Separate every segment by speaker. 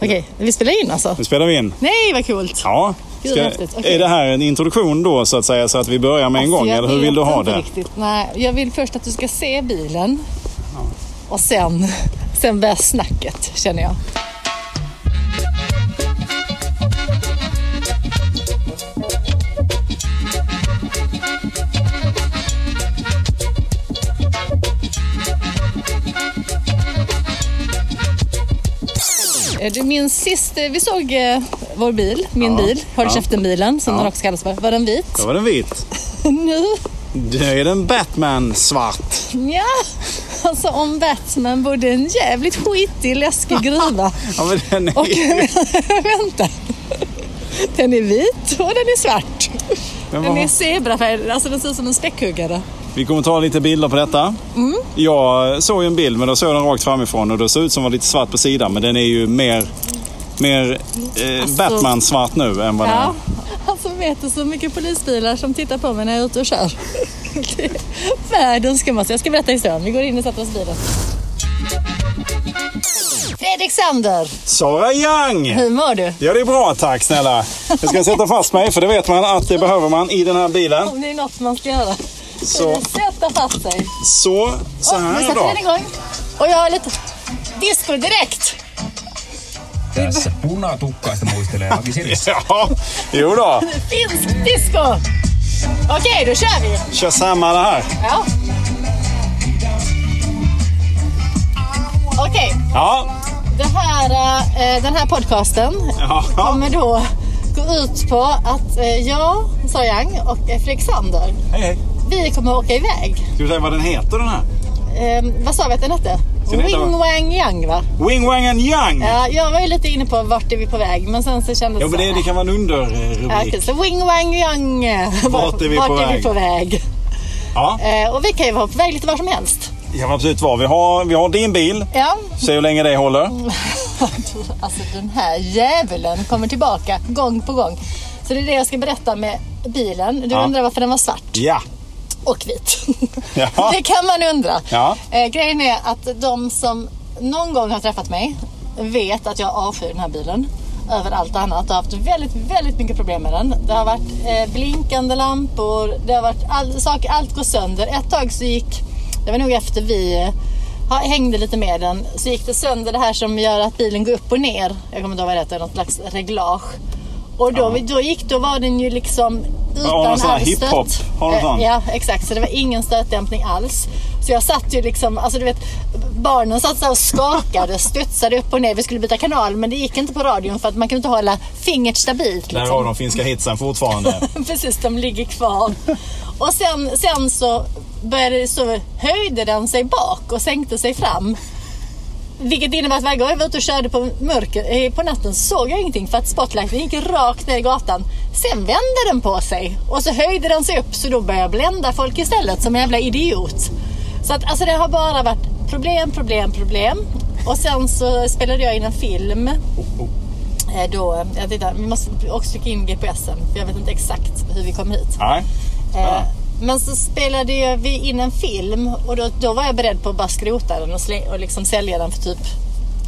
Speaker 1: Okej, vi spelar in alltså?
Speaker 2: Nu spelar vi in.
Speaker 1: Nej, vad kul!
Speaker 2: Ja.
Speaker 1: Gud,
Speaker 2: Ska,
Speaker 1: vad häftigt. Okej. Alltså,
Speaker 2: Är det här en introduktion då så att säga så att vi börjar med en gång? Eller hur vill du ha det?
Speaker 1: Riktigt. Nej, jag vill först att du ska se bilen och sen, sen börjar snacket känner jag. Eh, Du minns sist eh, vi såg eh, vår bil, min
Speaker 2: Ja,
Speaker 1: bil, Håll
Speaker 2: ja.
Speaker 1: käften-bilen som
Speaker 2: Ja.
Speaker 1: den också kallas för. Var den vit?
Speaker 2: Då var den vit.
Speaker 1: nu?
Speaker 2: Nu är den Batman svart.
Speaker 1: Ja, alltså om Batman bodde i en jävligt skitig, läskig gruva.
Speaker 2: Ja, men den är...
Speaker 1: Och vänta. Den är vit och den är svart.
Speaker 2: Men
Speaker 1: Den
Speaker 2: vad-
Speaker 1: är zebrafärgad, alltså den ser ut som en späckhuggare.
Speaker 2: Vi kommer ta lite bilder på detta.
Speaker 1: Mm.
Speaker 2: Jag såg ju en bild men då såg jag den rakt framifrån och det såg ut som var lite svart på sidan men den är ju mer, mer eh,
Speaker 1: Alltså-
Speaker 2: Batman svart nu än vad den är.
Speaker 1: Ja. Alltså vet du så mycket polisbilar som tittar på mig när jag är ute och kör. Det är Världens skummaste. Jag ska berätta historien. Vi går in och sätter oss i bilen. Fredrik Sander,
Speaker 2: Sara Young!
Speaker 1: hur mår du?
Speaker 2: Ja, det är bra tack snälla. Jag ska sätta fast mig för det vet man att det behöver man i den här bilen.
Speaker 1: Om det är något man ska göra.
Speaker 2: Så.
Speaker 1: Så. Sätta fast sig.
Speaker 2: Så, så
Speaker 1: Oj, nu
Speaker 2: här
Speaker 1: sätter
Speaker 2: då.
Speaker 1: vi den igång. Och jag har lite disco direkt.
Speaker 3: Tässä punatukkaista muistelee Aki Siristä.
Speaker 2: Ja, jo då.
Speaker 1: Finsk disco. Okej, då kör vi.
Speaker 2: Kör samma det här.
Speaker 1: Ja. Okej,
Speaker 2: Ja.
Speaker 1: det här, eh, den här podcasten
Speaker 2: ja.
Speaker 1: kommer då gå ut på att eh, jag, Sara Young och eh, Fredrik Sander,
Speaker 2: Hej, hej.
Speaker 1: vi kommer åka iväg.
Speaker 2: Ska vi säga vad den heter den här?
Speaker 1: Eh, vad sa vi att den hette?
Speaker 2: den heta vad?
Speaker 1: Wing Wang Yang va?
Speaker 2: Wing Wang and Young.
Speaker 1: Ja, jag var ju lite inne på vart är vi på väg men sen så kändes
Speaker 2: Ja, men
Speaker 1: så
Speaker 2: det,
Speaker 1: här,
Speaker 2: det kan vara en
Speaker 1: Ja, okej,
Speaker 2: underrubrik.
Speaker 1: så wing wang yang.
Speaker 2: Vart är vi på väg?
Speaker 1: väg?
Speaker 2: Ja,
Speaker 1: Eh, och vi kan ju vara på väg lite var som helst.
Speaker 2: ja men absolut vad. Vi har, vi har din bil.
Speaker 1: Ja.
Speaker 2: Se hur länge det håller.
Speaker 1: alltså den här djävulen kommer tillbaka gång på gång. Så det är det jag ska berätta med bilen. Du
Speaker 2: Ja.
Speaker 1: undrar varför den var svart
Speaker 2: Ja.
Speaker 1: och vit.
Speaker 2: Ja.
Speaker 1: Det kan man undra.
Speaker 2: Ja.
Speaker 1: Eh, grejen är att de som någon gång har träffat mig vet att jag avskyr den här bilen över allt annat. Jag har haft väldigt, väldigt mycket problem med den. Det har varit eh, blinkande lampor, det har varit all, saker, allt går sönder. Ett tag så gick, det var nog efter vi eh, ha- hängde lite med den, så gick det sönder det här som gör att bilen går upp och ner. Jag kommer inte ihåg vad det heter, något slags reglage. Och då, då gick, då var den ju liksom
Speaker 2: Ja,
Speaker 1: utan
Speaker 2: någon sån här
Speaker 1: arvstött.
Speaker 2: hiphop. Har du
Speaker 1: Eh,
Speaker 2: sån?
Speaker 1: Ja, exakt. Så det var ingen stötdämpning alls. Så jag satt ju liksom, alltså du vet, barnen satt så här och skakade, studsade upp och ner. Vi skulle byta kanal, men det gick inte på radion för att man kunde inte hålla fingret stabilt.
Speaker 2: Där
Speaker 1: Liksom.
Speaker 2: har de finska hitsen fortfarande.
Speaker 1: Precis, de ligger kvar. Och sen, sen så, började, det- så höjde den sig bak och sänkte sig fram. Vilket innebär att varje gång jag var ute och körde på, mörker, eh, på natten så såg jag ingenting för att spotlighten gick rakt ner i gatan. Sen vände den på sig och så höjde den sig upp så då började jag blända folk istället som en jävla idiot. Så att alltså det har bara varit problem, problem, problem. Och sen så spelade jag in en film. Eh, Då, jag tittar, vi måste också trycka in GPSen för jag vet inte exakt hur vi kom hit.
Speaker 2: Nej.
Speaker 1: Eh, Men så spelade ju vi in en film och då, då var jag beredd på att bara skrota den och, slä, och liksom sälja den för typ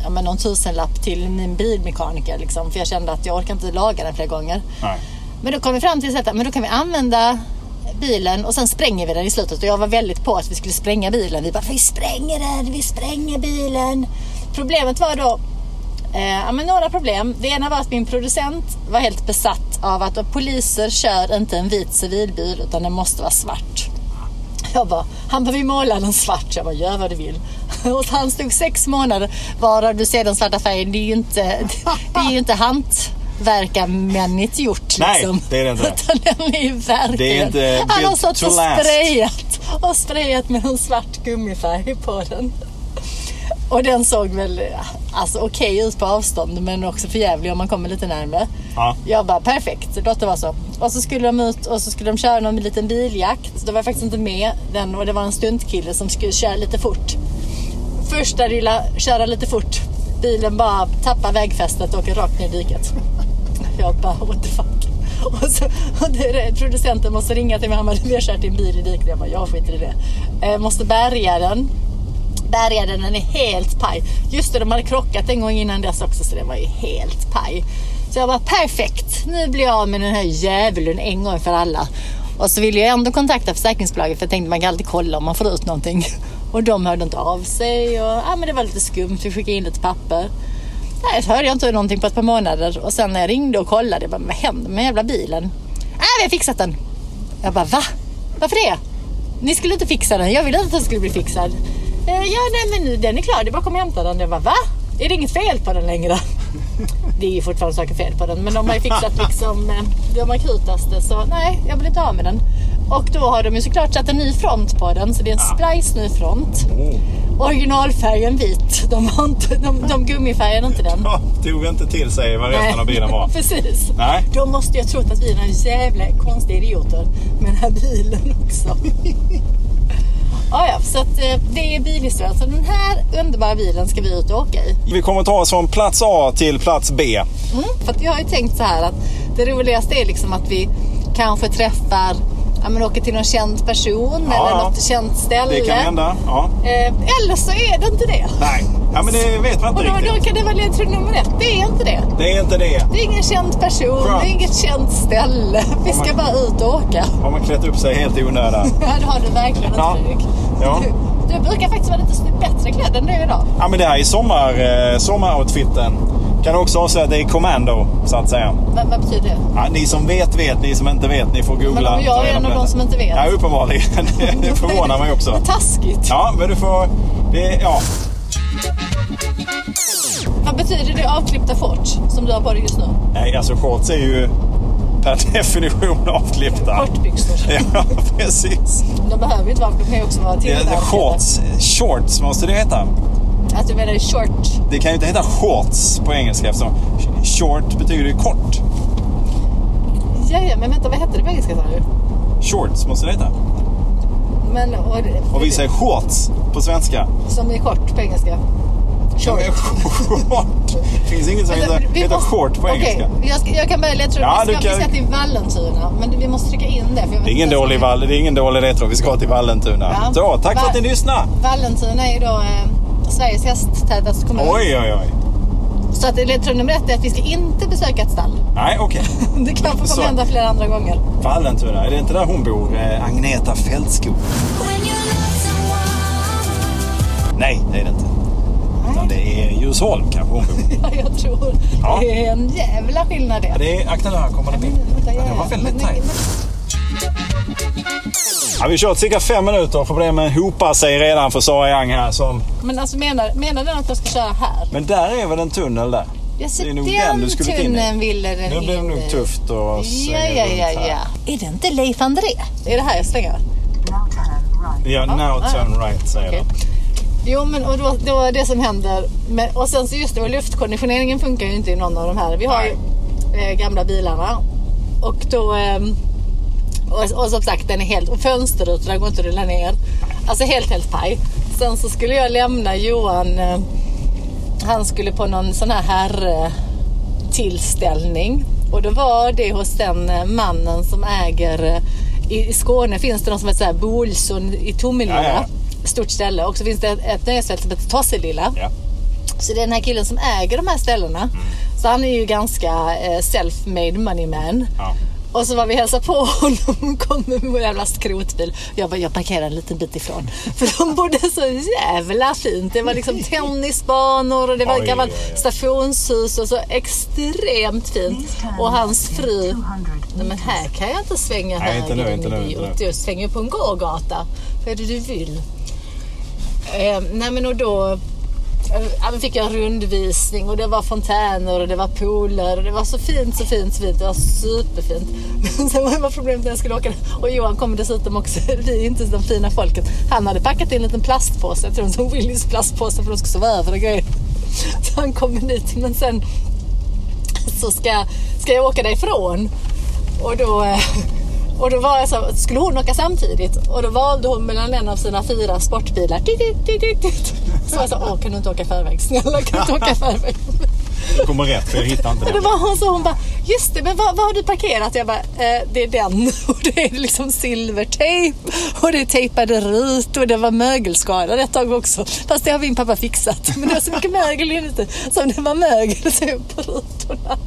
Speaker 1: ja, men någon tusenlapp till min bilmekaniker. Liksom, för jag kände att jag orkar inte laga den flera gånger.
Speaker 2: Nej.
Speaker 1: Men då kom vi fram till så att men då kan vi använda bilen och sen spränger vi den i slutet. Och jag var väldigt på att vi skulle spränga bilen. Vi bara, vi spränger den, vi spränger bilen. Problemet var då, eh, ja, men några problem. Det ena var att min producent var helt besatt av att poliser kör inte en vit civilbil utan den måste vara svart. Jag bara, han bara, vi målar den svart. Jag bara, gör vad du vill. Och han stod sex månader, varav du ser den svarta färgen. Det är ju inte, det är ju inte hantverkarmännigt gjort.
Speaker 2: Nej,
Speaker 1: liksom.
Speaker 2: det är det inte.
Speaker 1: Utan den är ju verkligen.
Speaker 2: Det är inte
Speaker 1: han har
Speaker 2: built
Speaker 1: satt
Speaker 2: to
Speaker 1: och
Speaker 2: last.
Speaker 1: sprayat, och sprayat med en svart gummifärg på den. Och den såg väl alltså, okej ut på avstånd men också för jävlig om man kommer lite närmare.
Speaker 2: Ja.
Speaker 1: Jag bara perfekt, låt det vara så. Och så skulle de ut och så skulle de köra någon liten biljakt. Då var jag faktiskt inte med den och det var en stuntkille som skulle köra lite fort. Första lilla köra lite fort. Bilen bara tappar vägfästet och åker rakt ner i diket. Jag bara what the fuck. Och så, och det, producenten måste ringa till mig. Han bara vi har kört din bil i diket. Jag bara jag skiter i det. Eh, måste bärga den bärgade den är helt paj. Just det, de hade krockat en gång innan dess också så det var ju helt paj. Så jag var perfekt, nu blir jag av med den här djävulen en gång för alla. Och så ville jag ändå kontakta försäkringsbolaget för jag tänkte man kan alltid kolla om man får ut någonting. Och de hörde inte av sig och ja, men det var lite skumt, vi skickade in lite papper. Nej, så hörde jag inte någonting på ett par månader och sen när jag ringde och kollade, jag bara, vad hände med den jävla bilen? Nej, vi har fixat den. Jag bara, va? Varför det? Ni skulle inte fixa den, jag ville inte att den skulle bli fixad. "Eh, Ja, nej men nu, den är klar, det är bara att komma och hämta den. Jag bara, va? Är det inget fel på den längre? Det är ju fortfarande saker fel på den, men de har ju fixat liksom eh, de akutaste, så nej, jag blir inte av med den. Och då har de ju såklart satt en ny front på den, så det är en
Speaker 2: Ah.
Speaker 1: splice ny front.
Speaker 2: Oh.
Speaker 1: Originalfärgen vit, de, har inte, de, de gummifärgade inte den.
Speaker 2: Tog inte till sig vad resten av bilen var.
Speaker 1: Precis.
Speaker 2: Nej.
Speaker 1: De måste ju ha trott att vi är några jävla konstiga idioter med den här bilen också. ja, ja, så att, eh, det är bilhistorien. Så den här underbara bilen ska vi ut och åka i.
Speaker 2: Vi kommer ta oss från plats A till plats B.
Speaker 1: Mm. För att jag har ju tänkt så här att det roligaste är liksom att vi kanske träffar, ja men åker till någon känd person
Speaker 2: Ja,
Speaker 1: eller
Speaker 2: ja.
Speaker 1: något känt ställe.
Speaker 2: Det kan hända. Ja.
Speaker 1: Eh, eller så är det inte det.
Speaker 2: Nej, ja, men det vet man
Speaker 1: Och
Speaker 2: inte
Speaker 1: då,
Speaker 2: riktigt.
Speaker 1: då kan det vara ledtråd nummer ett. Det är inte det.
Speaker 2: Det är inte det.
Speaker 1: Det är ingen känd person,
Speaker 2: Skönt.
Speaker 1: det är inget känt ställe. Vi ska bara ut och åka.
Speaker 2: Har man klätt upp sig helt i onödan.
Speaker 1: Ja, det har du verkligen inte
Speaker 2: Ja.
Speaker 1: Fredrik.
Speaker 2: Ja.
Speaker 1: Du, du brukar faktiskt vara lite bättre klädd än du är idag.
Speaker 2: Ja, men det här är sommar, eh, sommaroutfiten. Kan också avslöja att det är kommando, så att säga.
Speaker 1: Vad, vad betyder det?
Speaker 2: Ja, ni som vet vet, ni som inte vet, ni får
Speaker 1: Men
Speaker 2: googla.
Speaker 1: om
Speaker 2: ta
Speaker 1: jag är
Speaker 2: reda
Speaker 1: en
Speaker 2: på
Speaker 1: av
Speaker 2: detta.
Speaker 1: de som inte vet.
Speaker 2: Ja, uppenbarligen. Det, det förvånar mig också.
Speaker 1: Vad taskigt.
Speaker 2: Ja, men du får... Det, ja.
Speaker 1: Vad betyder det avklippta shorts som du har på dig just nu?
Speaker 2: Nej, alltså shorts är ju per definition avklippta.
Speaker 1: Kortbyxor.
Speaker 2: Ja, precis.
Speaker 1: De behöver ju inte vara de kan ju också vara
Speaker 2: Det
Speaker 1: till.
Speaker 2: är shorts. Shorts måste det heta.
Speaker 1: Att du menar short.
Speaker 2: Det kan ju inte heta shorts på engelska eftersom short betyder ju kort.
Speaker 1: Ja, ja, men vänta, vad hette det på engelska sa du?
Speaker 2: Shorts måste det heta.
Speaker 1: Men, och,
Speaker 2: Och vi säger shorts på svenska.
Speaker 1: Som är kort på engelska. Short. Alltså,
Speaker 2: Ja, men Short. Finns inget som heter,
Speaker 1: Vi
Speaker 2: heter
Speaker 1: måste-
Speaker 2: short på
Speaker 1: Okej,
Speaker 2: engelska.
Speaker 1: Jag, ska, jag kan börja ledtråd.
Speaker 2: Ja,
Speaker 1: vi,
Speaker 2: du
Speaker 1: ska,
Speaker 2: kan-
Speaker 1: vi ska till Vallentuna, men vi måste trycka in det. För jag vet
Speaker 2: Det är ingen
Speaker 1: inte ens
Speaker 2: dålig,
Speaker 1: vad-
Speaker 2: val, det är ingen dålig retro. Vi ska till Vallentuna.
Speaker 1: Ja.
Speaker 2: Så, tack för att ni
Speaker 1: Va-
Speaker 2: lyssnade.
Speaker 1: Vallentuna är ju då eh, Sveriges hästtätaste kommun.
Speaker 2: Oj, oj, oj.
Speaker 1: Så att ledtråd nummer ett är att vi ska inte besöka ett stall.
Speaker 2: Nej, okej.
Speaker 1: Det kanske
Speaker 2: Så.
Speaker 1: kommer hända flera andra gånger.
Speaker 2: Vallentuna, är det inte där hon bor? Eh, Agneta Fältskog?
Speaker 4: When you love someone,
Speaker 2: Nej, det är det inte. Utan det är Djursholm kanske hon bor.
Speaker 1: Ja, jag tror
Speaker 2: Ja.
Speaker 1: det är en jävla skillnad det.
Speaker 2: Ja, Det är, akta nu, här kommer det in.
Speaker 1: Vänta,
Speaker 2: Ja,
Speaker 1: ja,
Speaker 2: det var
Speaker 1: ja.
Speaker 2: väldigt
Speaker 1: Men-
Speaker 2: tajt.
Speaker 1: men-
Speaker 2: Ja, vi har kört cirka fem minuter. Problemen hopar sig redan för Sara Young här. Som...
Speaker 1: Men alltså menar, menar den att jag ska köra här?
Speaker 2: Men där är väl en tunnel där?
Speaker 1: Jag ser
Speaker 2: Det är nog den du skulle in i.
Speaker 1: tunneln ville den
Speaker 2: Nu blir det
Speaker 1: in i.
Speaker 2: nog tufft att
Speaker 1: Ja,
Speaker 2: svänga
Speaker 1: ja, ja,
Speaker 2: runt här.
Speaker 1: ja. Är det inte Leif André? Är det här jag slänger?
Speaker 4: now turn right.
Speaker 2: Ja, now
Speaker 1: ah,
Speaker 2: turn right säger
Speaker 1: Okej.
Speaker 2: de.
Speaker 1: Jo, men och då, då är det som händer. Men, och sen så just det, och luftkonditioneringen funkar ju inte i någon av de här. Vi har ju eh, gamla bilarna. Och då... ehm, och, och som sagt, den är helt... Och fönsterrutorna går inte att rulla ner. Alltså helt, helt paj. Sen så skulle jag lämna Johan. Eh, han skulle på någon sån här herre tillställning. Och då var det hos den eh, mannen som äger... eh, I i Skåne finns det någon som heter så här Bolsson i Tomelilla.
Speaker 2: Ja, ja,
Speaker 1: Stort ställe. Och så finns det ett, ett nöjesfält som heter Tosselilla.
Speaker 2: Ja. Mm.
Speaker 1: Så det är den här killen som äger de här ställena. Så han är ju ganska eh, self-made money man.
Speaker 2: Ja.
Speaker 1: Och så var vi hälsa på honom kom med vår jävla skrotbil. Jag bara, jag parkerar en liten bit ifrån. För de bodde så jävla fint. Det var liksom tennisbanor och det var
Speaker 2: Oj,
Speaker 1: ett gammalt
Speaker 2: oj, oj.
Speaker 1: stationshus och så extremt fint. Och hans fru,
Speaker 4: 200
Speaker 1: nej men här kan jag inte svänga
Speaker 2: Nej,
Speaker 1: höger
Speaker 2: inte nu,
Speaker 1: din
Speaker 2: inte nu, inte
Speaker 1: idiot.
Speaker 2: nu.
Speaker 1: Du svänger ju på en gågata. Vad är det du vill? Eh, nej men och då eh, ja, men fick jag en rundvisning och det var fontäner och det var pooler och det var så fint, så fint, så fint. Det var superfint. Men sen var det problemet när jag skulle åka och Johan kom dessutom också. Vi är inte de fina folket. Han hade packat in en liten plastpåse. Jag tror det var en Willys plastpåse för de skulle sova över och grejer. Så han kom dit men sen så ska, ska jag åka därifrån. Och då, eh, och då var jag så, skulle hon åka samtidigt och då valde hon mellan en av sina fyra sportbilar. Titt, titt, titt, titt, titt. Så jag sa, åh kan du inte åka i förväg? Snälla kan du inte åka i förväg?
Speaker 2: Jag kommer rätt för jag hittar inte
Speaker 1: Och då
Speaker 2: den.
Speaker 1: var hon så hon bara, just det, men vad, vad har du parkerat? Jag bara, eh, det är den och det är liksom silvertejp och det är tejpade rutor och det var mögelskador ett tag också. Fast det har min pappa fixat. Men det var så mycket mögel inuti som det var mögel typ på rutorna.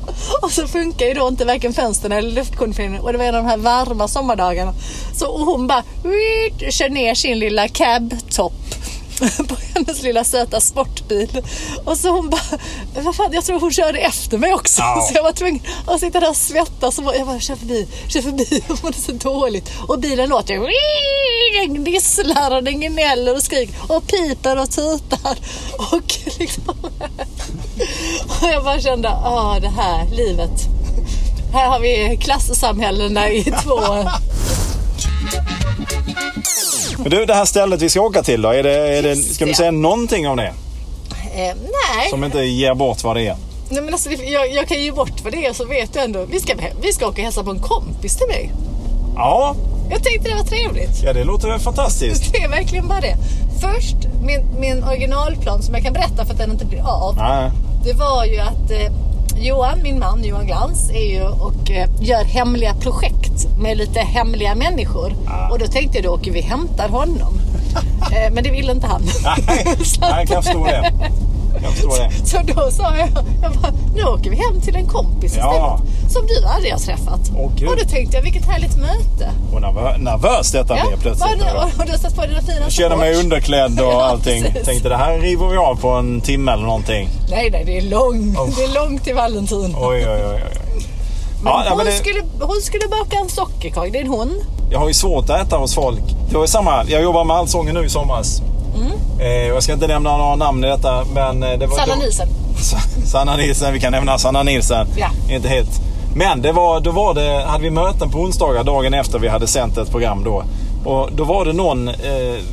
Speaker 1: Och så funkar ju då inte varken fönstren eller luftkonditioneringen och det var en av de här varma sommardagarna. Så och hon bara "Wiit", kör ner sin lilla cab-topp på hennes lilla söta sportbil. Och så hon bara, vad fan, jag tror hon körde efter mig också.
Speaker 2: Ja.
Speaker 1: Så jag var tvungen att sitta där och svettas. Och bara- jag bara, kör förbi, kör förbi. Jag mådde så dåligt. Och bilen låter ju, den gnisslar och den gnäller och skriker och piper och tutar. Och liksom, och jag bara kände, ah det här livet. Här har vi klassamhällena i två.
Speaker 2: Men du, det här stället vi ska åka till då? Är det, är det,
Speaker 1: Just
Speaker 2: ska du
Speaker 1: det.
Speaker 2: säga någonting om det?
Speaker 1: Eh, nej.
Speaker 2: Som inte ger bort vad det är?
Speaker 1: Nej men alltså, det- jag, jag kan ju ge bort vad det är så vet jag ändå. Vi ska, vi ska åka och hälsa på en kompis till mig.
Speaker 2: Ja,
Speaker 1: Jag tänkte det var trevligt.
Speaker 2: ja det låter väl fantastiskt.
Speaker 1: Det är verkligen bara det. Först, min, min originalplan som jag kan berätta för att den inte blir av.
Speaker 2: Nej.
Speaker 1: Det var ju att eh, Johan, min man Johan Glans, är ju och eh, gör hemliga projekt med lite hemliga människor. Och då tänkte jag då åker vi och hämtar honom. eh, men det ville inte han.
Speaker 2: Nej,
Speaker 1: Så att-
Speaker 2: nej, jag kan förstå det. Jag kan förstå det.
Speaker 1: Så då sa jag, jag bara, nu åker vi hem till en kompis istället.
Speaker 2: Ja.
Speaker 1: Som du aldrig har träffat.
Speaker 2: Åh, gud.
Speaker 1: och då tänkte jag, vilket härligt möte.
Speaker 2: Och nervö- nervös detta blev plötsligt.
Speaker 1: vad- och, och du har satt på dina fina
Speaker 2: Jag känner mig
Speaker 1: shorts.
Speaker 2: underklädd och
Speaker 1: Ja,
Speaker 2: allting.
Speaker 1: precis.
Speaker 2: Tänkte det här river vi av på en timme eller någonting.
Speaker 1: Nej, nej, det är långt.
Speaker 2: Oh.
Speaker 1: Det är långt till Valentin.
Speaker 2: Oj, oj, oj. oj.
Speaker 1: Men
Speaker 2: Oh. Ja, nej,
Speaker 1: hon,
Speaker 2: men det-
Speaker 1: skulle, hon skulle baka en sockerkaka. Det är en hon.
Speaker 2: Jag har ju svårt att äta hos folk. Det var ju samma. Jag jobbar med Allsången nu i somras.
Speaker 1: Mm.
Speaker 2: Eh, och jag ska inte nämna några namn i detta. Men eh, det var
Speaker 1: Sanna
Speaker 2: då-
Speaker 1: Nielsen.
Speaker 2: Sa- Sanna Nielsen, vi kan nämna Sanna Nielsen.
Speaker 1: Ja.
Speaker 2: Inte helt. Men det var, då var det, hade vi möten på onsdagar dagen efter vi hade sänt ett program då. Och då var det någon eh,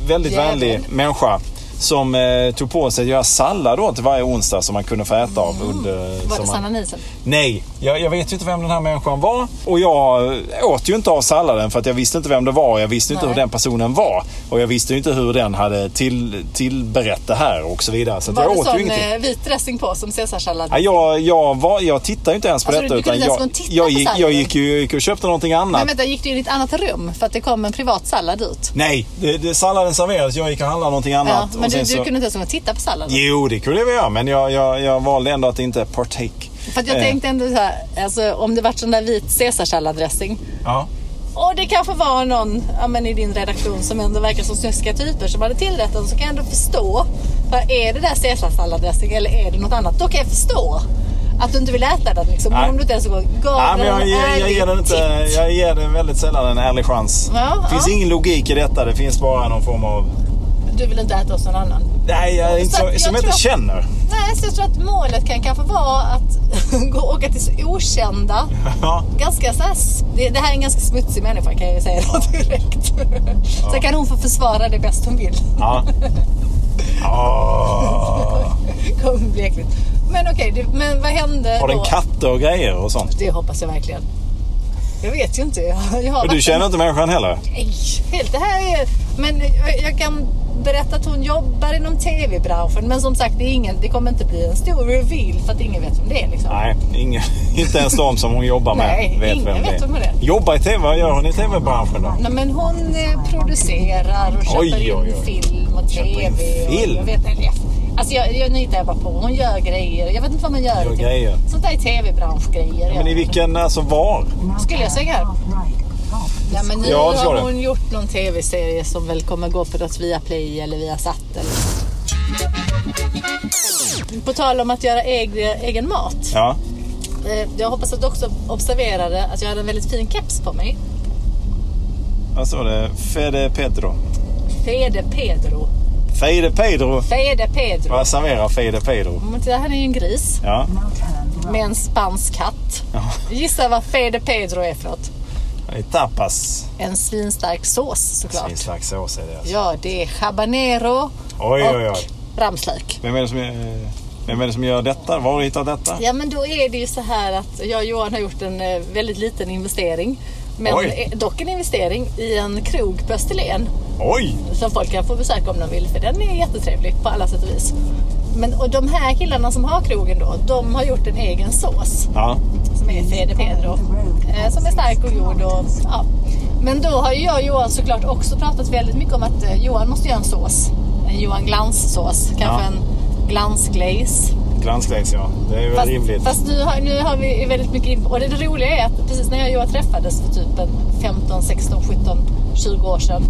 Speaker 2: väldigt
Speaker 1: Jävel.
Speaker 2: vänlig människa som eh, tog på sig att göra sallad åt varje onsdag som man kunde få äta av under
Speaker 1: Mm. Var det
Speaker 2: sommaren.
Speaker 1: Sanna Nielsen?
Speaker 2: Nej, jag, jag vet ju inte vem den här människan var. Och jag åt ju inte av salladen för att jag visste inte vem det var. och Jag visste ju inte
Speaker 1: Nej.
Speaker 2: hur den personen var. Och jag visste ju inte hur den hade till, tillberett det här och så vidare. Så att
Speaker 1: Var
Speaker 2: jag
Speaker 1: det
Speaker 2: åt ju
Speaker 1: sån
Speaker 2: ingenting.
Speaker 1: eh, vit dressing på som caesarsallad?
Speaker 2: Ja, jag, jag, var, jag tittade ju inte ens på
Speaker 1: Alltså, du-
Speaker 2: detta.
Speaker 1: du kunde
Speaker 2: utan
Speaker 1: inte ens gå
Speaker 2: jag,
Speaker 1: och titta
Speaker 2: jag,
Speaker 1: på
Speaker 2: gick, jag
Speaker 1: salladen?
Speaker 2: gick ju gick och köpte någonting annat.
Speaker 1: Men vänta, gick du in i ett annat rum för att det kom en privat sallad ut?
Speaker 2: Nej, det, det, salladen serverades. Jag gick och handlade någonting annat.
Speaker 1: Ja, men
Speaker 2: och
Speaker 1: du,
Speaker 2: sen
Speaker 1: du
Speaker 2: så...
Speaker 1: kunde inte ens gå och titta på salladen?
Speaker 2: Jo, det kunde jag väl göra. Men jag, jag, jag valde ändå att inte partake.
Speaker 1: För att jag
Speaker 2: Eh,
Speaker 1: tänkte ändå så här, alltså, om det vart sån där vit caesarsalladdressing.
Speaker 2: Ja.
Speaker 1: Och det kanske var någon ja, men i din redaktion som ändå verkar som snuskiga typer som hade tillrätt den så kan jag ändå förstå. För är det där caesarsalladdressing eller är det något annat, då kan jag förstå att du inte vill äta den. Liksom. Men
Speaker 2: Nej.
Speaker 1: om du inte ens går
Speaker 2: Nej,
Speaker 1: gav
Speaker 2: men
Speaker 1: den
Speaker 2: jag,
Speaker 1: en
Speaker 2: jag, jag,
Speaker 1: ärlig
Speaker 2: ger den inte,
Speaker 1: titt.
Speaker 2: jag ger den väldigt sällan en ärlig chans.
Speaker 1: Ja,
Speaker 2: det finns
Speaker 1: ja.
Speaker 2: ingen logik i detta. Det finns bara någon form av...
Speaker 1: Du vill inte äta hos någon annan.
Speaker 2: Nej, jag, är inte,
Speaker 1: Så
Speaker 2: så,
Speaker 1: att jag
Speaker 2: som jag inte
Speaker 1: tror-
Speaker 2: känner.
Speaker 1: Nej, så jag tror att målet kan kanske vara att gå och åka till så okända.
Speaker 2: Ja.
Speaker 1: Ganska så här, s- det, det här är en ganska smutsig människa kan jag ju säga då direkt. Så kan hon få försvara det bäst hon vill.
Speaker 2: ja. Åh.
Speaker 1: Kommer bli äckligt. Men okej, det- men vad hände
Speaker 2: Har den
Speaker 1: då?
Speaker 2: katter och grejer och sånt?
Speaker 1: Det hoppas jag verkligen. Jag vet ju inte. Jag har
Speaker 2: Och
Speaker 1: varit-
Speaker 2: du känner inte människan heller?
Speaker 1: Nej, helt. Det här är... Men jag- jag kan berätta att hon jobbar inom tv-branschen. Men som sagt, det, är ingen, det kommer inte bli en stor reveal för att ingen vet vem det är. Liksom.
Speaker 2: Nej, ingen, inte ens de som hon jobbar med
Speaker 1: Nej,
Speaker 2: vet
Speaker 1: ingen
Speaker 2: vem det
Speaker 1: vet
Speaker 2: är.
Speaker 1: vem det är.
Speaker 2: Jobbar i TV, vad gör hon i TV-branschen då?
Speaker 1: Nej, men hon eh, producerar och köper
Speaker 2: Oj, oj, oj.
Speaker 1: in film och
Speaker 2: Köper
Speaker 1: tv.
Speaker 2: in film?
Speaker 1: Och jag vet inte. jag- Alltså jag, jag nitar jag bara på. Hon gör grejer. Jag vet inte vad man gör.
Speaker 2: Gör
Speaker 1: i tv.
Speaker 2: grejer.
Speaker 1: Sånt där är tv-branschgrejer.
Speaker 2: Men i vilken, alltså var?
Speaker 1: Skulle jag säga här? Ja, men nu
Speaker 2: Ja, det ska
Speaker 1: har
Speaker 2: det.
Speaker 1: hon gjort någon tv-serie som väl kommer gå på något via Play eller via Satt. Eller... På tal om att göra egen, egen mat.
Speaker 2: Ja.
Speaker 1: Eh, Jag hoppas att du också observerade att jag hade en väldigt fin keps på mig.
Speaker 2: Vad står det? Fede Pedro.
Speaker 1: Fede Pedro.
Speaker 2: Fede Pedro.
Speaker 1: Fede Pedro.
Speaker 2: Vad serverar Fede Pedro?
Speaker 1: Men Det här är ju en gris
Speaker 2: Ja.
Speaker 1: med en spansk katt.
Speaker 2: Ja.
Speaker 1: Gissa vad Fede Pedro är för något?
Speaker 2: Det är tapas.
Speaker 1: En svinstark sås såklart.
Speaker 2: Vilken slags sås är det? Alltså.
Speaker 1: Ja, det är habanero
Speaker 2: Oj, oj,
Speaker 1: och
Speaker 2: oj.
Speaker 1: ramslök.
Speaker 2: Vem är det som, eh, vem är det som gör detta? Var har du hittat detta?
Speaker 1: Ja men då är det ju så här att jag och Johan har gjort en eh, väldigt liten investering. Men
Speaker 2: Oj.
Speaker 1: eh, dock en investering i en krog på Österlen
Speaker 2: Oj!
Speaker 1: som folk kan få besöka om de vill för den är jättetrevlig på alla sätt och vis. Men, och de här killarna som har krogen då, de har gjort en egen sås.
Speaker 2: Ja.
Speaker 1: Som är Fede Pedro. Eh, som är stark och god. Och, ja. Men då har ju jag och Johan såklart också pratat väldigt mycket om att eh, Johan måste göra en sås. En Johan Glans-sås. Kanske
Speaker 2: Ja.
Speaker 1: en glansglaze.
Speaker 2: Glansglaze, ja. Det är väl
Speaker 1: Fast,
Speaker 2: rimligt.
Speaker 1: fast nu, har, nu har vi ju väldigt mycket in- Och det roliga är att precis när jag och Johan träffades för typ en 15, 16, 17, 20 år sedan.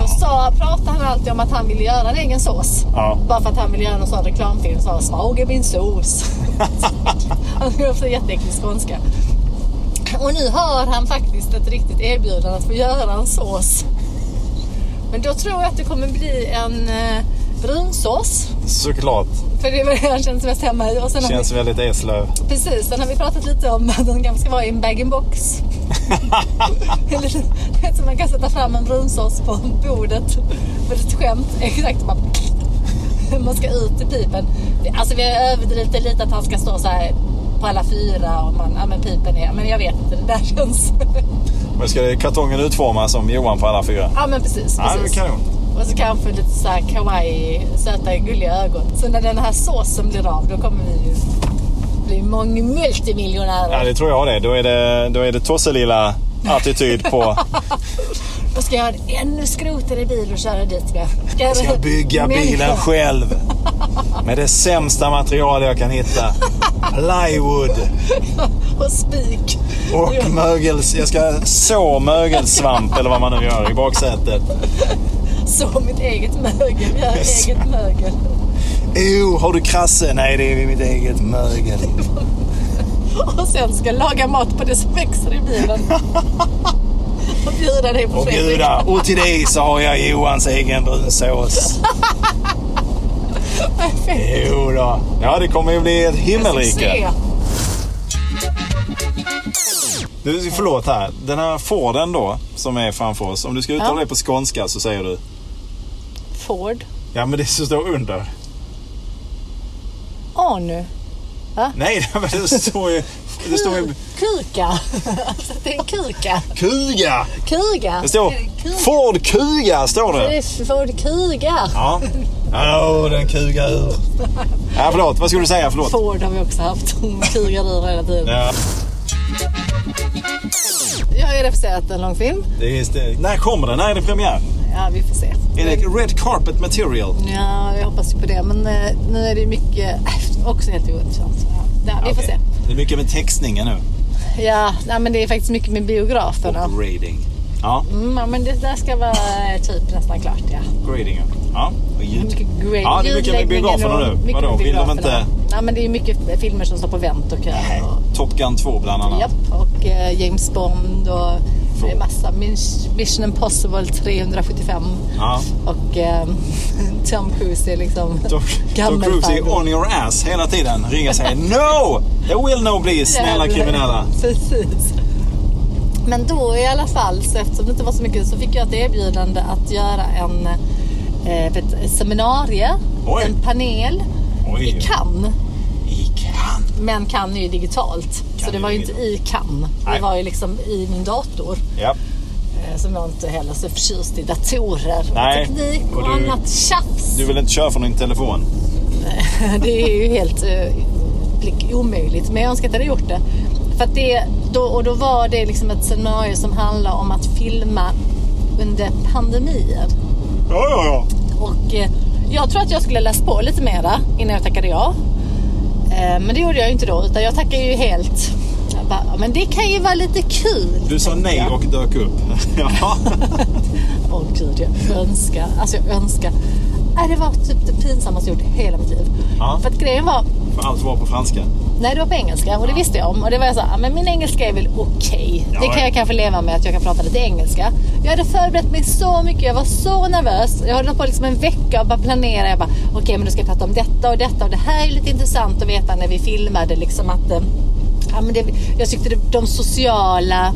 Speaker 1: Då sa, pratade han alltid om att han ville göra en egen sås.
Speaker 2: Ja.
Speaker 1: Bara för att han ville göra någon sån reklamfilm. Så han smag är min sås. han skulle också jätteäcklig skånska. Och nu har han faktiskt ett riktigt erbjudande att få göra en sås. Men då tror jag att det kommer bli en eh, brunsås.
Speaker 2: Såklart.
Speaker 1: För det är vad jag känns mest hemma i. Och sen har vi-
Speaker 2: Känns väldigt Eslöv.
Speaker 1: Precis, sen har vi pratat lite om att den kanske ska vara i en bag-in-box. Eller så man kan sätta fram en brunsås på bordet. För ett skämt. Exakt. Man, man ska ut i pipen. Alltså vi har överdrivit det lite att han ska stå så här på alla fyra och man, ja men pipen är, men jag vet inte, det där känns.
Speaker 2: Men ska kartongen utformas som Johan på alla fyra?
Speaker 1: Ja men precis.
Speaker 2: Ja, det är
Speaker 1: precis.
Speaker 2: kanon.
Speaker 1: och så kanske lite så här kawaii, söta gulliga ögon. Så när den här såsen blir av då kommer vi ju bli mångmultimiljonärer.
Speaker 2: Ja, det tror jag det. Då är det, då är det tosselilla attityd på...
Speaker 1: Då ska jag ha en ännu skrotigare bil och köra dit med. Ska
Speaker 2: Jag ska bygga
Speaker 1: Människa.
Speaker 2: bilen själv. Med det sämsta material jag kan hitta. Plywood
Speaker 1: Och spik.
Speaker 2: och mögels... Jag ska så mögelsvamp eller vad man nu gör i baksätet.
Speaker 1: Så mitt eget mögel. Jag har
Speaker 2: Yes.
Speaker 1: eget mögel.
Speaker 2: Oh, har du krasse? Nej, det är mitt eget mögel.
Speaker 1: Och sen ska jag laga mat på det som växer i bilen. Och bjuda dig på
Speaker 2: Och gudar, och till dig så har jag Johans egen brunsås. Jo då. Ja, det kommer ju bli ett himmelrike.
Speaker 1: Succé.
Speaker 2: Du, förlåt här. Den här Forden då, som är framför oss. Om du ska uttala
Speaker 1: Ja.
Speaker 2: det på skånska så säger du...
Speaker 1: Ford.
Speaker 2: Ja, men det som står under.
Speaker 1: Åh nu.
Speaker 2: Nej, men det står ju... Det står ju...
Speaker 1: Kuka. Alltså, det är en kuka.
Speaker 2: Kuga!
Speaker 1: Kuga.
Speaker 2: Det står... Ford Kuga, står
Speaker 1: Det
Speaker 2: det.
Speaker 1: är Ford Kuga.
Speaker 2: Ja. Åh, den kugar ur. Ja, förlåt. Vad skulle du säga? Förlåt.
Speaker 1: Ford har vi också haft. Hon kugar ur hela tiden.
Speaker 2: Ja.
Speaker 1: Jag har ju refuserat en långfilm.
Speaker 2: Det är, det, när kommer den? När är det premiär?
Speaker 1: Ja, vi får se.
Speaker 2: Är det red carpet material?
Speaker 1: Ja, jag hoppas ju på det. Men eh, nu är det ju mycket... äh, Också helt ointressant. Ja, där, vi får
Speaker 2: Okej.
Speaker 1: se.
Speaker 2: Det är mycket med textningen nu.
Speaker 1: Ja, nej, men det är faktiskt mycket med biograferna.
Speaker 2: Och grading. Ja,
Speaker 1: Mm, ja, men det där ska vara eh, typ nästan klart, ja.
Speaker 2: grading. ja. Ja, och
Speaker 1: Det är
Speaker 2: ljud.
Speaker 1: mycket grade-
Speaker 2: Ja, det är mycket med
Speaker 1: ljudläggningen
Speaker 2: biograferna
Speaker 1: och
Speaker 2: nu.
Speaker 1: mycket
Speaker 2: Vadå,
Speaker 1: med
Speaker 2: vill de
Speaker 1: biograferna.
Speaker 2: inte-
Speaker 1: Nej, men det är ju mycket filmer som står på vänt och kö. och-
Speaker 2: Äh, Top Gun 2 bland annat.
Speaker 1: Japp, och eh, James Bond och det är massa Mis- Mission Impossible 375.
Speaker 2: Ja.
Speaker 1: Och eh, Tom Cruise är liksom
Speaker 2: Tom, Tom Cruise
Speaker 1: gammelfarbror.
Speaker 2: är on your ass hela tiden. Ringer och säger No! There will no be
Speaker 1: Jävlar.
Speaker 2: snälla kriminella.
Speaker 1: Precis. Men då i alla fall, så eftersom det inte var så mycket, så fick jag ett erbjudande att göra en eh, ett seminarie,
Speaker 2: Oj.
Speaker 1: en panel
Speaker 2: Oj.
Speaker 1: i Cannes.
Speaker 2: I Cannes.
Speaker 1: Men Cannes är ju digitalt, så
Speaker 2: Cannes
Speaker 1: det
Speaker 2: är
Speaker 1: var ju
Speaker 2: ju
Speaker 1: inte i
Speaker 2: digitalt.
Speaker 1: Cannes. Det
Speaker 2: Nej.
Speaker 1: var ju liksom i min dator.
Speaker 2: Japp.
Speaker 1: eh, Som jag inte heller är så förtjust i datorer
Speaker 2: Nej.
Speaker 1: och teknik och,
Speaker 2: Och du-
Speaker 1: annat tjafs.
Speaker 2: Du vill inte köra från din telefon?
Speaker 1: Det är ju helt eh, blick- omöjligt. Men jag önskar att jag hade gjort det. För att det då, och då var det liksom ett scenario som handlar om att filma under pandemier.
Speaker 2: Ja, ja, ja.
Speaker 1: Och eh, jag tror att jag skulle läst på lite mera innan jag tackade ja. Eh, men det gjorde jag ju inte då. Utan jag tackade ju helt. Jag bara, "Ja, men det kan ju vara lite kul.
Speaker 2: Du sa
Speaker 1: tänkte
Speaker 2: nej
Speaker 1: jag.
Speaker 2: och dök upp. Ja.
Speaker 1: Åh gud, jag önskar. Alltså jag önskar. Nej, det var typ det pinsammaste jag gjort i hela mitt liv.
Speaker 2: Ja.
Speaker 1: För att grejen var,
Speaker 2: För allt var på franska.
Speaker 1: Nej, det var på engelska och det visste jag om. Och det var jag så här, "Ah, men min engelska är väl okej.
Speaker 2: Ja,
Speaker 1: Det kan
Speaker 2: ja.
Speaker 1: jag kanske leva med att jag kan prata lite engelska. Jag hade förberett mig så mycket, jag var så nervös. Jag höll på liksom en vecka och bara planera. Jag bara, okej men du ska jag prata om detta och detta och det här är lite intressant att veta när vi filmade liksom att eh, ja, men det, jag tyckte det, de sociala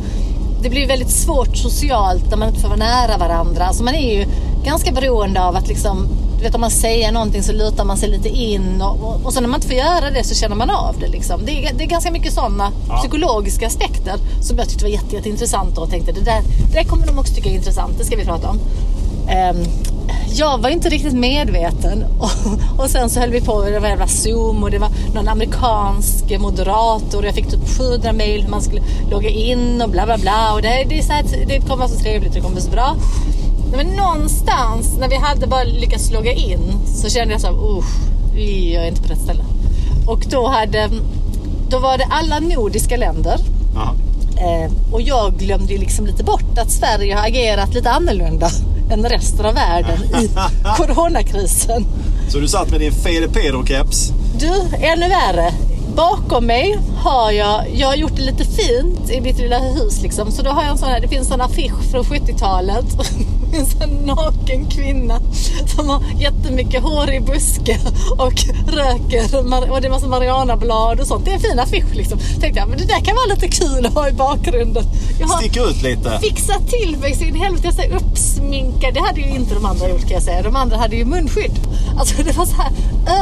Speaker 1: det blir väldigt svårt socialt när man inte får vara nära varandra. Alltså man är ju ganska beroende av att liksom, du vet om man säger någonting så lutar man sig lite in och, och, och sen när man inte får göra det så känner man av det. Liksom. Det, är, det är ganska mycket sådana
Speaker 2: Ja.
Speaker 1: psykologiska aspekter som jag tyckte var jätte, jätteintressant och tänkte det där, det där kommer de också tycka är intressant, det ska vi prata om. Ehm, jag var inte riktigt medveten. Och, och sen så höll vi på, det var jävla zoom och det var någon amerikansk moderator. Jag fick typ 700 mail hur man skulle logga in och bla bla bla. Och det, det, är så här, det kommer vara så trevligt och det kommer vara så bra. Men någonstans när vi hade bara lyckats logga in så kände jag så här, usch, vi är inte på rätt ställe. Och då, hade, då var det alla nordiska länder.
Speaker 2: Aha.
Speaker 1: Eh, och jag glömde ju liksom lite bort att Sverige har agerat lite annorlunda än resten av världen i coronakrisen.
Speaker 2: Så du satt med din Fede Pedro-keps?
Speaker 1: Du, ännu värre. Bakom mig har jag, jag har gjort det lite fint i mitt lilla hus liksom. Så då har jag en sån här, det finns en affisch från 70-talet. En sån naken kvinna som har jättemycket hår i buske och röker mar- och det är massa marijuanablad och sånt. Det är en fin affisch liksom. Tänkte jag, men det där kan vara lite kul att ha i bakgrunden. Jag har
Speaker 2: Stick ut lite.
Speaker 1: fixa till mig sin helvete. Jag säger uppsminkad. Det hade ju inte de andra gjort kan jag säga. De andra hade ju munskydd. Alltså det var så här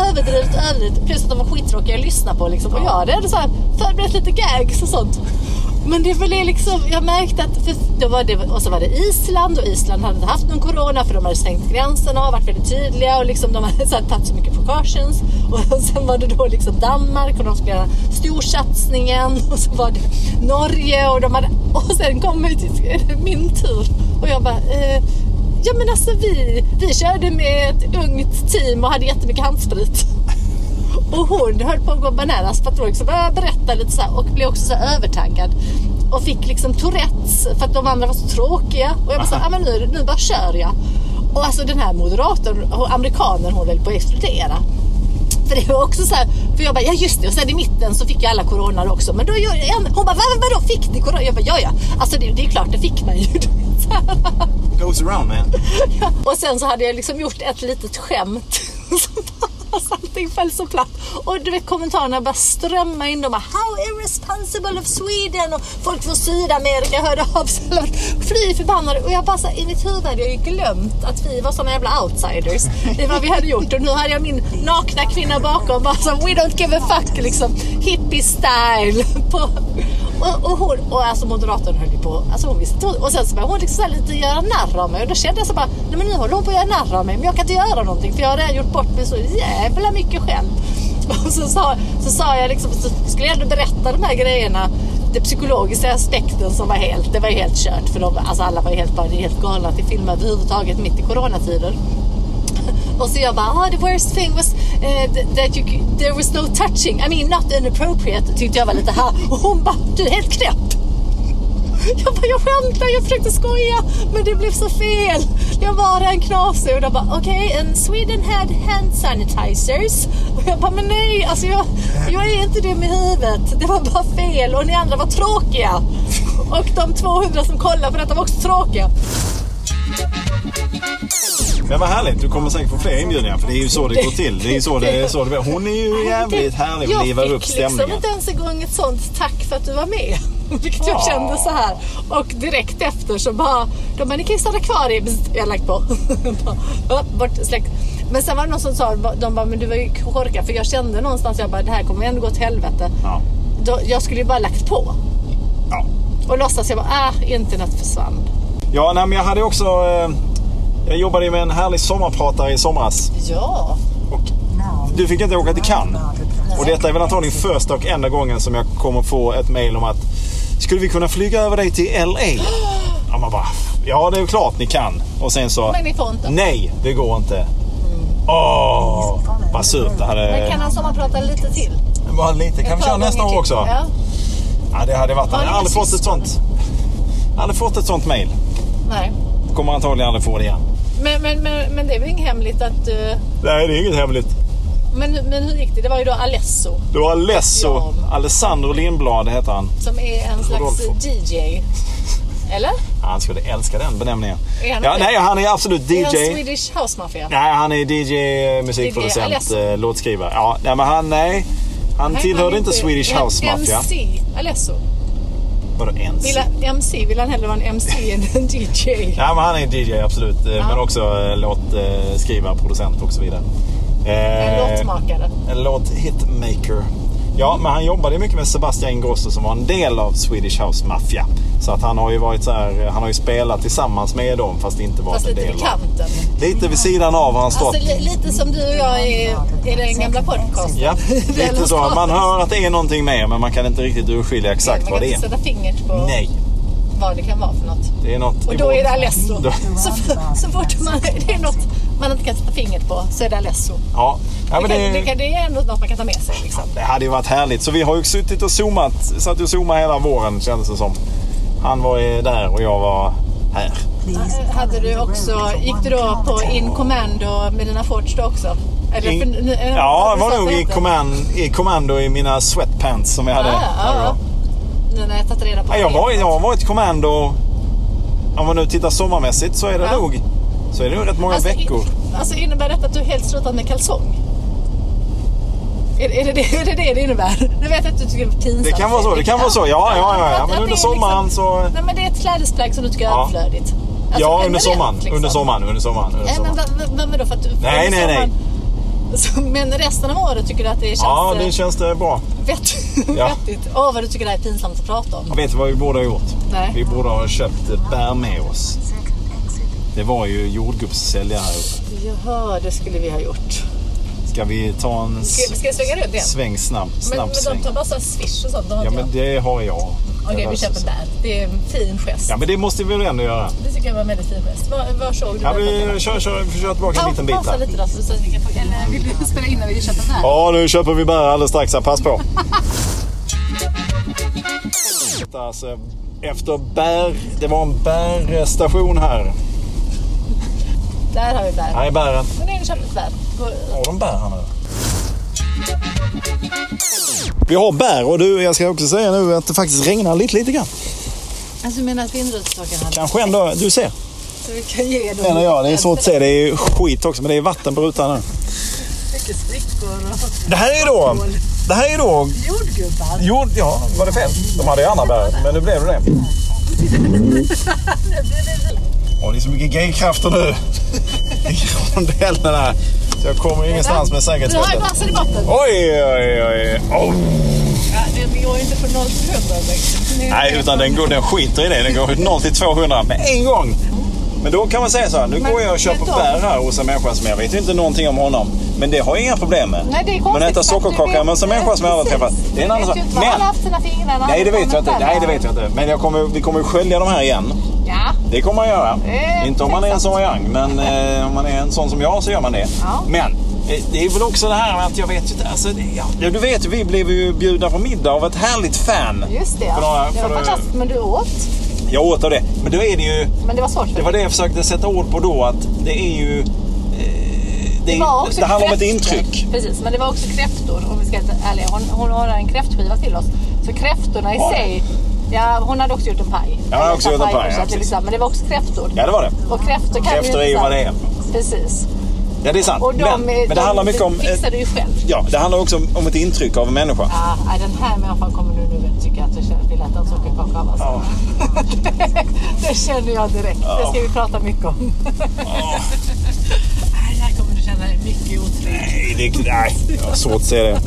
Speaker 1: överdrivet, överdrivet. Plus att de var skittråkiga att lyssna på liksom. Och jag hade så här förberett lite gags och sånt. Men det var liksom, jag märkte att, för då var det, och så var det Island och Island hade inte haft någon corona för de hade stängt gränserna och varit väldigt tydliga och liksom de hade så här, tagit så mycket precautions. Och sen var det då liksom Danmark och de skulle göra storsatsningen och så var det Norge och de hade, och sen kom jag till, är det min tur och jag bara eh, Ja men alltså vi, vi körde med ett ungt team och hade jättemycket handsprit. Och hon höll på att gå bananas för att hon liksom började berätta lite så här och blev också så här övertaggad. Och fick liksom Tourettes för att de andra var så tråkiga. Och jag bara såhär, ah, men nu, nu bara kör jag. Och alltså den här moderatorn, och amerikanen hon höll på att explodera. För det var också så här, för jag bara, ja just det. Och sen i mitten så fick jag alla corona då också. Men då, gör jag en- hon bara, vad, vadå fick ni corona? Jag bara, ja ja. Alltså det, det är klart, det fick man ju. Så här.
Speaker 2: Goes around man.
Speaker 1: Och sen så hade jag liksom gjort ett litet skämt. som bara- så Allting föll så platt. Och du vet kommentarerna bara strömmade in. De bara How irresponsible of Sweden och folk från Sydamerika hörde av sig. Alla var Fly förbannade. Och jag bara så här, i mitt huvud hade jag ju glömt att vi var såna jävla outsiders. Det var vad vi hade gjort. Och nu hade jag min nakna kvinna bakom bara så We don't give a fuck liksom. Hippie style. På, och, och hon, och alltså moderatorn höll ju på, alltså hon visste inte. Och sen så började hon liksom så här lite göra narr av mig och då kände jag så bara, nej men nu håller hon på att göra narr av mig men jag kan inte göra någonting för jag har redan gjort bort mig så jävla mycket själv. Och så sa, så sa jag liksom, så skulle jag ändå berätta de här grejerna, den psykologiska aspekten som var helt, det var ju helt kört för de, alltså alla var ju helt, bara, det är helt galna att det filmar överhuvudtaget mitt i coronatider. Och så jag bara, ah, the worst thing was eh, th- that you, c- there was no touching. I mean not inappropriate tyckte jag var lite här. Och hon bara, du är helt knäpp. Jag bara, jag skämtar, jag försökte skoja men det blev så fel. Jag var en knasig och de bara, okej, okay, and Sweden had hand sanitizers. Och jag bara, men nej, alltså jag, jag är inte dum i huvudet. Det var bara fel och ni andra var tråkiga. Och de 200 som kollade på detta var också tråkiga.
Speaker 2: Men vad härligt, du kommer säkert få fler inbjudningar för det är ju så det går till. Det är ju så det, så det blir. Hon är ju jävligt härlig och livar upp
Speaker 1: Jag fick liksom
Speaker 2: stämningen.
Speaker 1: inte ens igång ett sånt tack för att du var med. Vilket jag
Speaker 2: Ja.
Speaker 1: kände så här. Och direkt efter så bara, de bara, ni kan ju stanna kvar i, Bzz, jag har lagt på. Bara, upp, Bort, släckt. Men sen var det någon som sa, de bara, men du var ju korkad. För jag kände någonstans, jag bara, det här kommer ändå gå åt helvete.
Speaker 2: Ja.
Speaker 1: Då, jag skulle ju bara lagt på.
Speaker 2: Ja.
Speaker 1: Och låtsas, jag bara, ah, internet försvann.
Speaker 2: Ja, nej, men jag hade också... Eh, jag jobbade ju med en härlig sommarpratare i somras.
Speaker 1: Ja,
Speaker 2: Du fick inte åka till Cannes. Och detta är väl antagligen första och enda gången som jag kommer få ett mail om att skulle vi kunna flyga över dig till LA? Ja, man bara, ja det är klart ni kan. Och sen så,
Speaker 1: men ni får inte.
Speaker 2: nej det går inte. Åh, vad surt.
Speaker 1: Men
Speaker 2: Det
Speaker 1: kan
Speaker 2: hade...
Speaker 1: han sommarprata lite till?
Speaker 2: Bara lite, kan vi köra
Speaker 1: Ett par
Speaker 2: nästa
Speaker 1: gånger
Speaker 2: år
Speaker 1: till.
Speaker 2: också?
Speaker 1: Ja.
Speaker 2: Ja, det hade varit... Jag
Speaker 1: Har ni
Speaker 2: har aldrig fått ett
Speaker 1: syskon?
Speaker 2: sånt... Jag har aldrig fått ett sånt mail.
Speaker 1: Nej.
Speaker 2: Kommer antagligen aldrig få det igen.
Speaker 1: Men, men, men, men det är väl inget hemligt att du...
Speaker 2: Nej, det är inget hemligt.
Speaker 1: Men, men hur gick det? Det var ju då Alesso
Speaker 2: Det var Alesso,
Speaker 1: Ja.
Speaker 2: Alessandro Lindblad heter han.
Speaker 1: som är en slags
Speaker 2: Rodolfo.
Speaker 1: DJ. Eller?
Speaker 2: Ja, Han skulle älska den benämningen.
Speaker 1: Är han
Speaker 2: Ja,
Speaker 1: det?
Speaker 2: nej, han är absolut
Speaker 1: Är han
Speaker 2: DJ.
Speaker 1: Swedish House Mafia?
Speaker 2: Nej, han är DJ,
Speaker 1: DJ
Speaker 2: musikproducent,
Speaker 1: Alesso.
Speaker 2: eh, låtskrivare. Ja, nej, men han, nej. Han
Speaker 1: Nej,
Speaker 2: tillhörde
Speaker 1: han är
Speaker 2: inte Swedish
Speaker 1: en
Speaker 2: House Mafia.
Speaker 1: MC, Alesso.
Speaker 2: Vadå ens?
Speaker 1: Vill han, MC, vill han hellre vara en MC än en DJ?
Speaker 2: Ja, men han är DJ absolut. eh, Men också eh, låtskrivare, producent och så vidare.
Speaker 1: En
Speaker 2: Eh,
Speaker 1: låtmakare.
Speaker 2: En låt hitmaker. Ja, men han jobbade ju mycket med Sebastian Ingrosso som var en del av Swedish House Mafia. Så att han har ju varit så här, eh, han har ju spelat tillsammans med dem fast inte varit
Speaker 1: Fast
Speaker 2: en
Speaker 1: lite
Speaker 2: del
Speaker 1: vid
Speaker 2: av
Speaker 1: kanten.
Speaker 2: Lite vid sidan av har han stått.
Speaker 1: Alltså li- lite som du och jag i, i den gamla podcasten.
Speaker 2: ja, lite så. Man hör att det är någonting med men man kan inte riktigt urskilja exakt
Speaker 1: Man
Speaker 2: vad
Speaker 1: kan
Speaker 2: det
Speaker 1: inte
Speaker 2: är.
Speaker 1: sätta fingret på
Speaker 2: Nej,
Speaker 1: vad det kan vara för något.
Speaker 2: det är något. i
Speaker 1: Och då
Speaker 2: vår-
Speaker 1: är det Alesso.
Speaker 2: Då-
Speaker 1: Så, så fort man, det är något man inte kan sätta fingret på så är det Alesso.
Speaker 2: Ja, ja
Speaker 1: Det,
Speaker 2: men
Speaker 1: kan, det,
Speaker 2: det,
Speaker 1: kan, det är ändå något man kan ta med sig. Liksom.
Speaker 2: det hade ju varit härligt. Så vi har ju suttit och zoomat, satt och zoomat hela våren kändes det som. Han var eh, där och jag var här.
Speaker 1: Hade du också, gick du då på In Commando med dina shorts då också? Eller
Speaker 2: In,
Speaker 1: för- nu-
Speaker 2: ja,
Speaker 1: vad
Speaker 2: det var
Speaker 1: sa
Speaker 2: nog
Speaker 1: du
Speaker 2: i,
Speaker 1: heter?
Speaker 2: command, i kommando i mina sweatpants som jag hade.
Speaker 1: Ja, Ah, ja,
Speaker 2: Ja,
Speaker 1: ja. Nu när jag tagit reda på
Speaker 2: Jag,
Speaker 1: det.
Speaker 2: var, jag har varit i kommando, om man nu tittar sommarmässigt så är det
Speaker 1: Ja.
Speaker 2: nog så är det nog rätt många
Speaker 1: Alltså, i-
Speaker 2: veckor.
Speaker 1: Alltså innebär detta att du helt slutat med kalsong? Är, är, det det, är det det det innebär? Nu vet jag att du tycker det är pinsamt.
Speaker 2: Det kan vara så, det kan vara så. Ja, ja, ja. ja.
Speaker 1: Att- att
Speaker 2: Men
Speaker 1: det
Speaker 2: under
Speaker 1: är
Speaker 2: sommaren
Speaker 1: liksom,
Speaker 2: så...
Speaker 1: Nej men det är ett klädesplagg som du tycker är
Speaker 2: Ja.
Speaker 1: överflödigt. Alltså,
Speaker 2: Ja, under
Speaker 1: generellt,
Speaker 2: sommaren.
Speaker 1: liksom.
Speaker 2: Under sommaren, under sommaren. Under
Speaker 1: Nej men
Speaker 2: sommaren.
Speaker 1: vad- vad- men då för att du...
Speaker 2: Nej,
Speaker 1: under
Speaker 2: nej, nej.
Speaker 1: sommaren- Så, men resten av året tycker du att det känns
Speaker 2: Ja,
Speaker 1: eh,
Speaker 2: det känns det bra.
Speaker 1: vett,
Speaker 2: Ja.
Speaker 1: vettigt? Åh vad du tycker det här är pinsamt att prata om.
Speaker 2: Jag vet vad vi borde ha gjort?
Speaker 1: Nej.
Speaker 2: Vi borde ha köpt eh, bär med oss.
Speaker 4: Second exit.
Speaker 2: Det var ju jordgubbssäljare här uppe.
Speaker 1: Jaha, det skulle vi ha gjort.
Speaker 2: Ska vi ta en s-
Speaker 1: Ska, ska jag svänga runt igen?
Speaker 2: sväng snabb?
Speaker 1: Men,
Speaker 2: snabb
Speaker 1: men
Speaker 2: sväng?
Speaker 1: de tar bara så här swish och sånt. Det har
Speaker 2: Ja
Speaker 1: inte jag.
Speaker 2: men det har jag.
Speaker 1: Okej,
Speaker 2: Jag
Speaker 1: vi köper
Speaker 2: löser
Speaker 1: där. Det är en fin gest.
Speaker 2: Ja men det måste vi väl ändå göra.
Speaker 1: Det tycker jag var en väldigt fin gest. Var, var såg du
Speaker 2: Ja,
Speaker 1: den?
Speaker 2: vi kör, kör, vi kör tillbaka en
Speaker 1: Pa-
Speaker 2: liten bit
Speaker 1: Pausa
Speaker 2: här.
Speaker 1: lite då, så så att vi kan få... Eller vill du spela in när vi köper den här?
Speaker 2: Ja nu köper vi bär alldeles strax här. Pass på. alltså, efter bär... Det var en bärstation här.
Speaker 1: Där har vi bär.
Speaker 2: Här är bären.
Speaker 1: Men nu har vi köpt ett bär. Gå-
Speaker 2: Har de bär här nu? Vi har bär och du, jag ska också säga nu att det faktiskt regnar lite, lite grann.
Speaker 1: Alltså du menar att vindrutetorkaren hade...
Speaker 2: Kanske ändå, du ser.
Speaker 1: Så vi kan ge dem...
Speaker 2: Eller ja, det är svårt att se. Det är ju skit också, men det är vatten på rutan nu.
Speaker 1: Mycket sprickor och
Speaker 2: Det här är ju då... Det här är ju då
Speaker 1: jordgubbar.
Speaker 2: Jo, ja, var det fel? De hade ju Annaberg, men nu blev det det. Åh, det är så mycket gaykrafter nu i rondellerna. Så jag kommer ingenstans med
Speaker 1: Du har ju
Speaker 2: säkerhetsbältet.
Speaker 1: vassen i botten.
Speaker 2: Oj, oj, oj. Oh.
Speaker 1: Ja, den går ju inte från 0 till 100 direkt. Den är-
Speaker 2: Nej, utan den, går, den skiter i det. Den går 0 till 200 med en gång. Men då kan man säga så här, nu
Speaker 1: Men-
Speaker 2: går jag och köper
Speaker 1: men då-
Speaker 2: bär här hos en människa som jag vet ju inte någonting om honom. Men det har jag inga problem med.
Speaker 1: Nej, det är konstigt.
Speaker 2: men äta
Speaker 1: för att
Speaker 2: sockerkaka
Speaker 1: du
Speaker 2: med en
Speaker 1: vet-
Speaker 2: människa som jag aldrig
Speaker 1: Precis.
Speaker 2: träffat. Det är en annan
Speaker 1: Du vet
Speaker 2: sak.
Speaker 1: ju inte vad han har
Speaker 2: Men,
Speaker 1: haft sina fingrar när
Speaker 2: nej det
Speaker 1: han
Speaker 2: vet jag inte.
Speaker 1: kom
Speaker 2: Nej, det
Speaker 1: själv.
Speaker 2: vet jag inte. Men jag kommer, vi kommer skölja de här igen.
Speaker 1: Ja.
Speaker 2: Det kommer man göra.
Speaker 1: Eh,
Speaker 2: inte om man är en sån young, men eh, om man är en sån som jag så gör man det.
Speaker 1: Ja.
Speaker 2: Men eh, det är väl också det här med att jag vet ju inte. Alltså, det, ja, ja, du vet, vi blev ju bjudna på middag av ett härligt fan.
Speaker 1: Just det.
Speaker 2: För några-
Speaker 1: det
Speaker 2: för-
Speaker 1: var fantastiskt, men du åt.
Speaker 2: Jag åt av det. Men då är det ju,
Speaker 1: Men det var svårt för
Speaker 2: det var det jag försökte sätta ord på då, att det är ju... eh, Det, är-
Speaker 1: var också
Speaker 2: det handlar om ett
Speaker 1: kräftor.
Speaker 2: intryck.
Speaker 1: Precis, men det var också kräftor om vi ska vara helt ärliga. Hon, hon har en kräftskiva till oss. Så kräftorna i
Speaker 2: Har hon?
Speaker 1: sig. Ja, hon hade också gjort en paj.
Speaker 2: Ja, hon hade också gjort en
Speaker 1: Paj
Speaker 2: paj,
Speaker 1: också,
Speaker 2: ja,
Speaker 1: att det
Speaker 2: precis.
Speaker 1: liksom, men det var också kräftor.
Speaker 2: Ja, det var det.
Speaker 1: Och kräftor kan
Speaker 2: Kräftor
Speaker 1: ju
Speaker 2: är ju
Speaker 1: liksom-
Speaker 2: vad det är.
Speaker 1: Precis.
Speaker 2: Ja, det är sant.
Speaker 1: Och de,
Speaker 2: men, men det
Speaker 1: de
Speaker 2: handlar mycket om... eh,
Speaker 1: fixar du ju själv.
Speaker 2: Ja, det handlar också om, om ett intryck av en människa.
Speaker 1: Ja, nej, Ah, den här människan kommer nu, nu tycka att jag känner- vill äta en sockerkaka av. Alltså.
Speaker 2: Ja.
Speaker 1: det känner jag direkt. Det ska vi prata mycket om. Nej, här kommer du känna dig mycket otrygg.
Speaker 2: Nej, det, nej, jag har svårt att se det.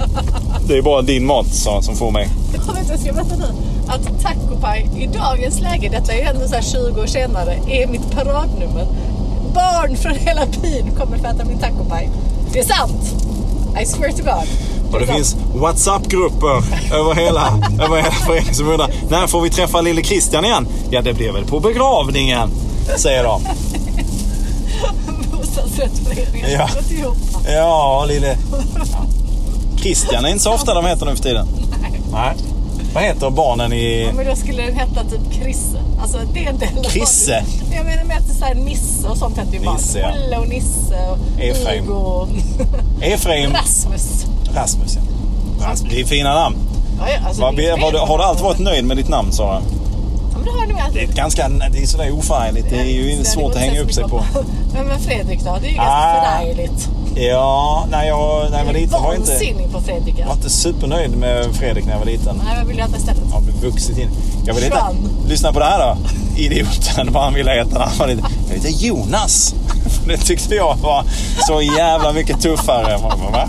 Speaker 2: Det är bara din mat sa- som får mig.
Speaker 1: Jag kommer inte ens jag berätta nu att tacopaj i dagens läge, detta är ju ändå så här 20 år senare, är mitt paradnummer. Barn från hela byn kommer för att äta min tacopaj. Det är sant! I swear to God.
Speaker 2: Och det
Speaker 1: är
Speaker 2: finns
Speaker 1: sant.
Speaker 2: WhatsApp-grupper över hela, över hela föreningen som undrar när får vi träffa lille Christian igen? Ja, det blir väl på begravningen, säger de.
Speaker 1: bostadsrättsföreningen som
Speaker 2: Ja.
Speaker 1: har gått ihop.
Speaker 2: Ja, lille... Christian är inte så ofta de heter nu för tiden. Nej. Vad heter barnen i...
Speaker 1: Men då skulle den heta typ Krisse. Alltså det är en del av
Speaker 2: Krisse?
Speaker 1: barnet. Jag menar med att det är så här Nisse och sånt hette ju barn.
Speaker 2: Nisse, ja.
Speaker 1: Olle och Nisse och
Speaker 2: Efraim.
Speaker 1: Hugo och
Speaker 2: Efraim
Speaker 1: Rasmus.
Speaker 2: Rasmus, ja. Rasmus, Det är fina namn.
Speaker 1: Ja, ja, alltså,
Speaker 2: Vad-
Speaker 1: det är ju
Speaker 2: vad-
Speaker 1: fel.
Speaker 2: har du alltid varit nöjd med ditt namn, Sara?
Speaker 1: Ja, men det har jag nog
Speaker 2: Det är
Speaker 1: alltid.
Speaker 2: ett ganska... Det är sådär oförargligt. Det är
Speaker 1: Så
Speaker 2: ju
Speaker 1: det går
Speaker 2: svårt att
Speaker 1: inte
Speaker 2: hänga
Speaker 1: så
Speaker 2: upp sig
Speaker 1: mycket
Speaker 2: på.
Speaker 1: Men, men Fredrik då? Det är ju
Speaker 2: Ah.
Speaker 1: ganska förargligt.
Speaker 2: Ja, nej jag nej,
Speaker 1: Jag
Speaker 2: var
Speaker 1: är
Speaker 2: liten var jag inte,
Speaker 1: vansinnig på Fredrik.
Speaker 2: var
Speaker 1: Alltså.
Speaker 2: inte supernöjd med Fredrik när jag var liten.
Speaker 1: Nej, vad vill jag heta istället?
Speaker 2: Jag har vuxit in. Jag vill inte...
Speaker 1: Sean.
Speaker 2: Lyssna på det här då. Idioten, vad han ville heta när han var liten. Jag heter Jonas. Det tyckte jag var så jävla mycket tuffare. Man bara, va?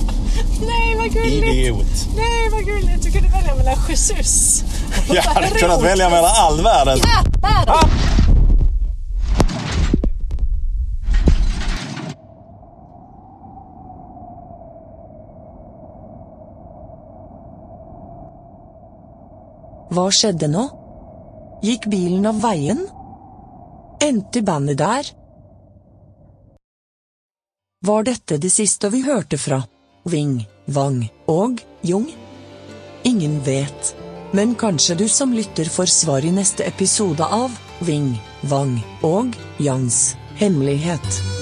Speaker 1: Nej, vad gulligt.
Speaker 2: Idiot.
Speaker 1: Nej, vad gulligt. Du kunde välja mellan Jesus och
Speaker 2: Jag hade kunnat
Speaker 1: Herod.
Speaker 2: välja mellan all världen.
Speaker 1: Ah, där.
Speaker 5: Hva skjedde nå? Gikk bilen av veien? Endte bandet der? Var dette det siste vi hørte fra Ving, Wang og Jung? Ingen vet, men kanskje du som lytter får svar i neste episode av Ving, Wang og Yangs hemmelighet.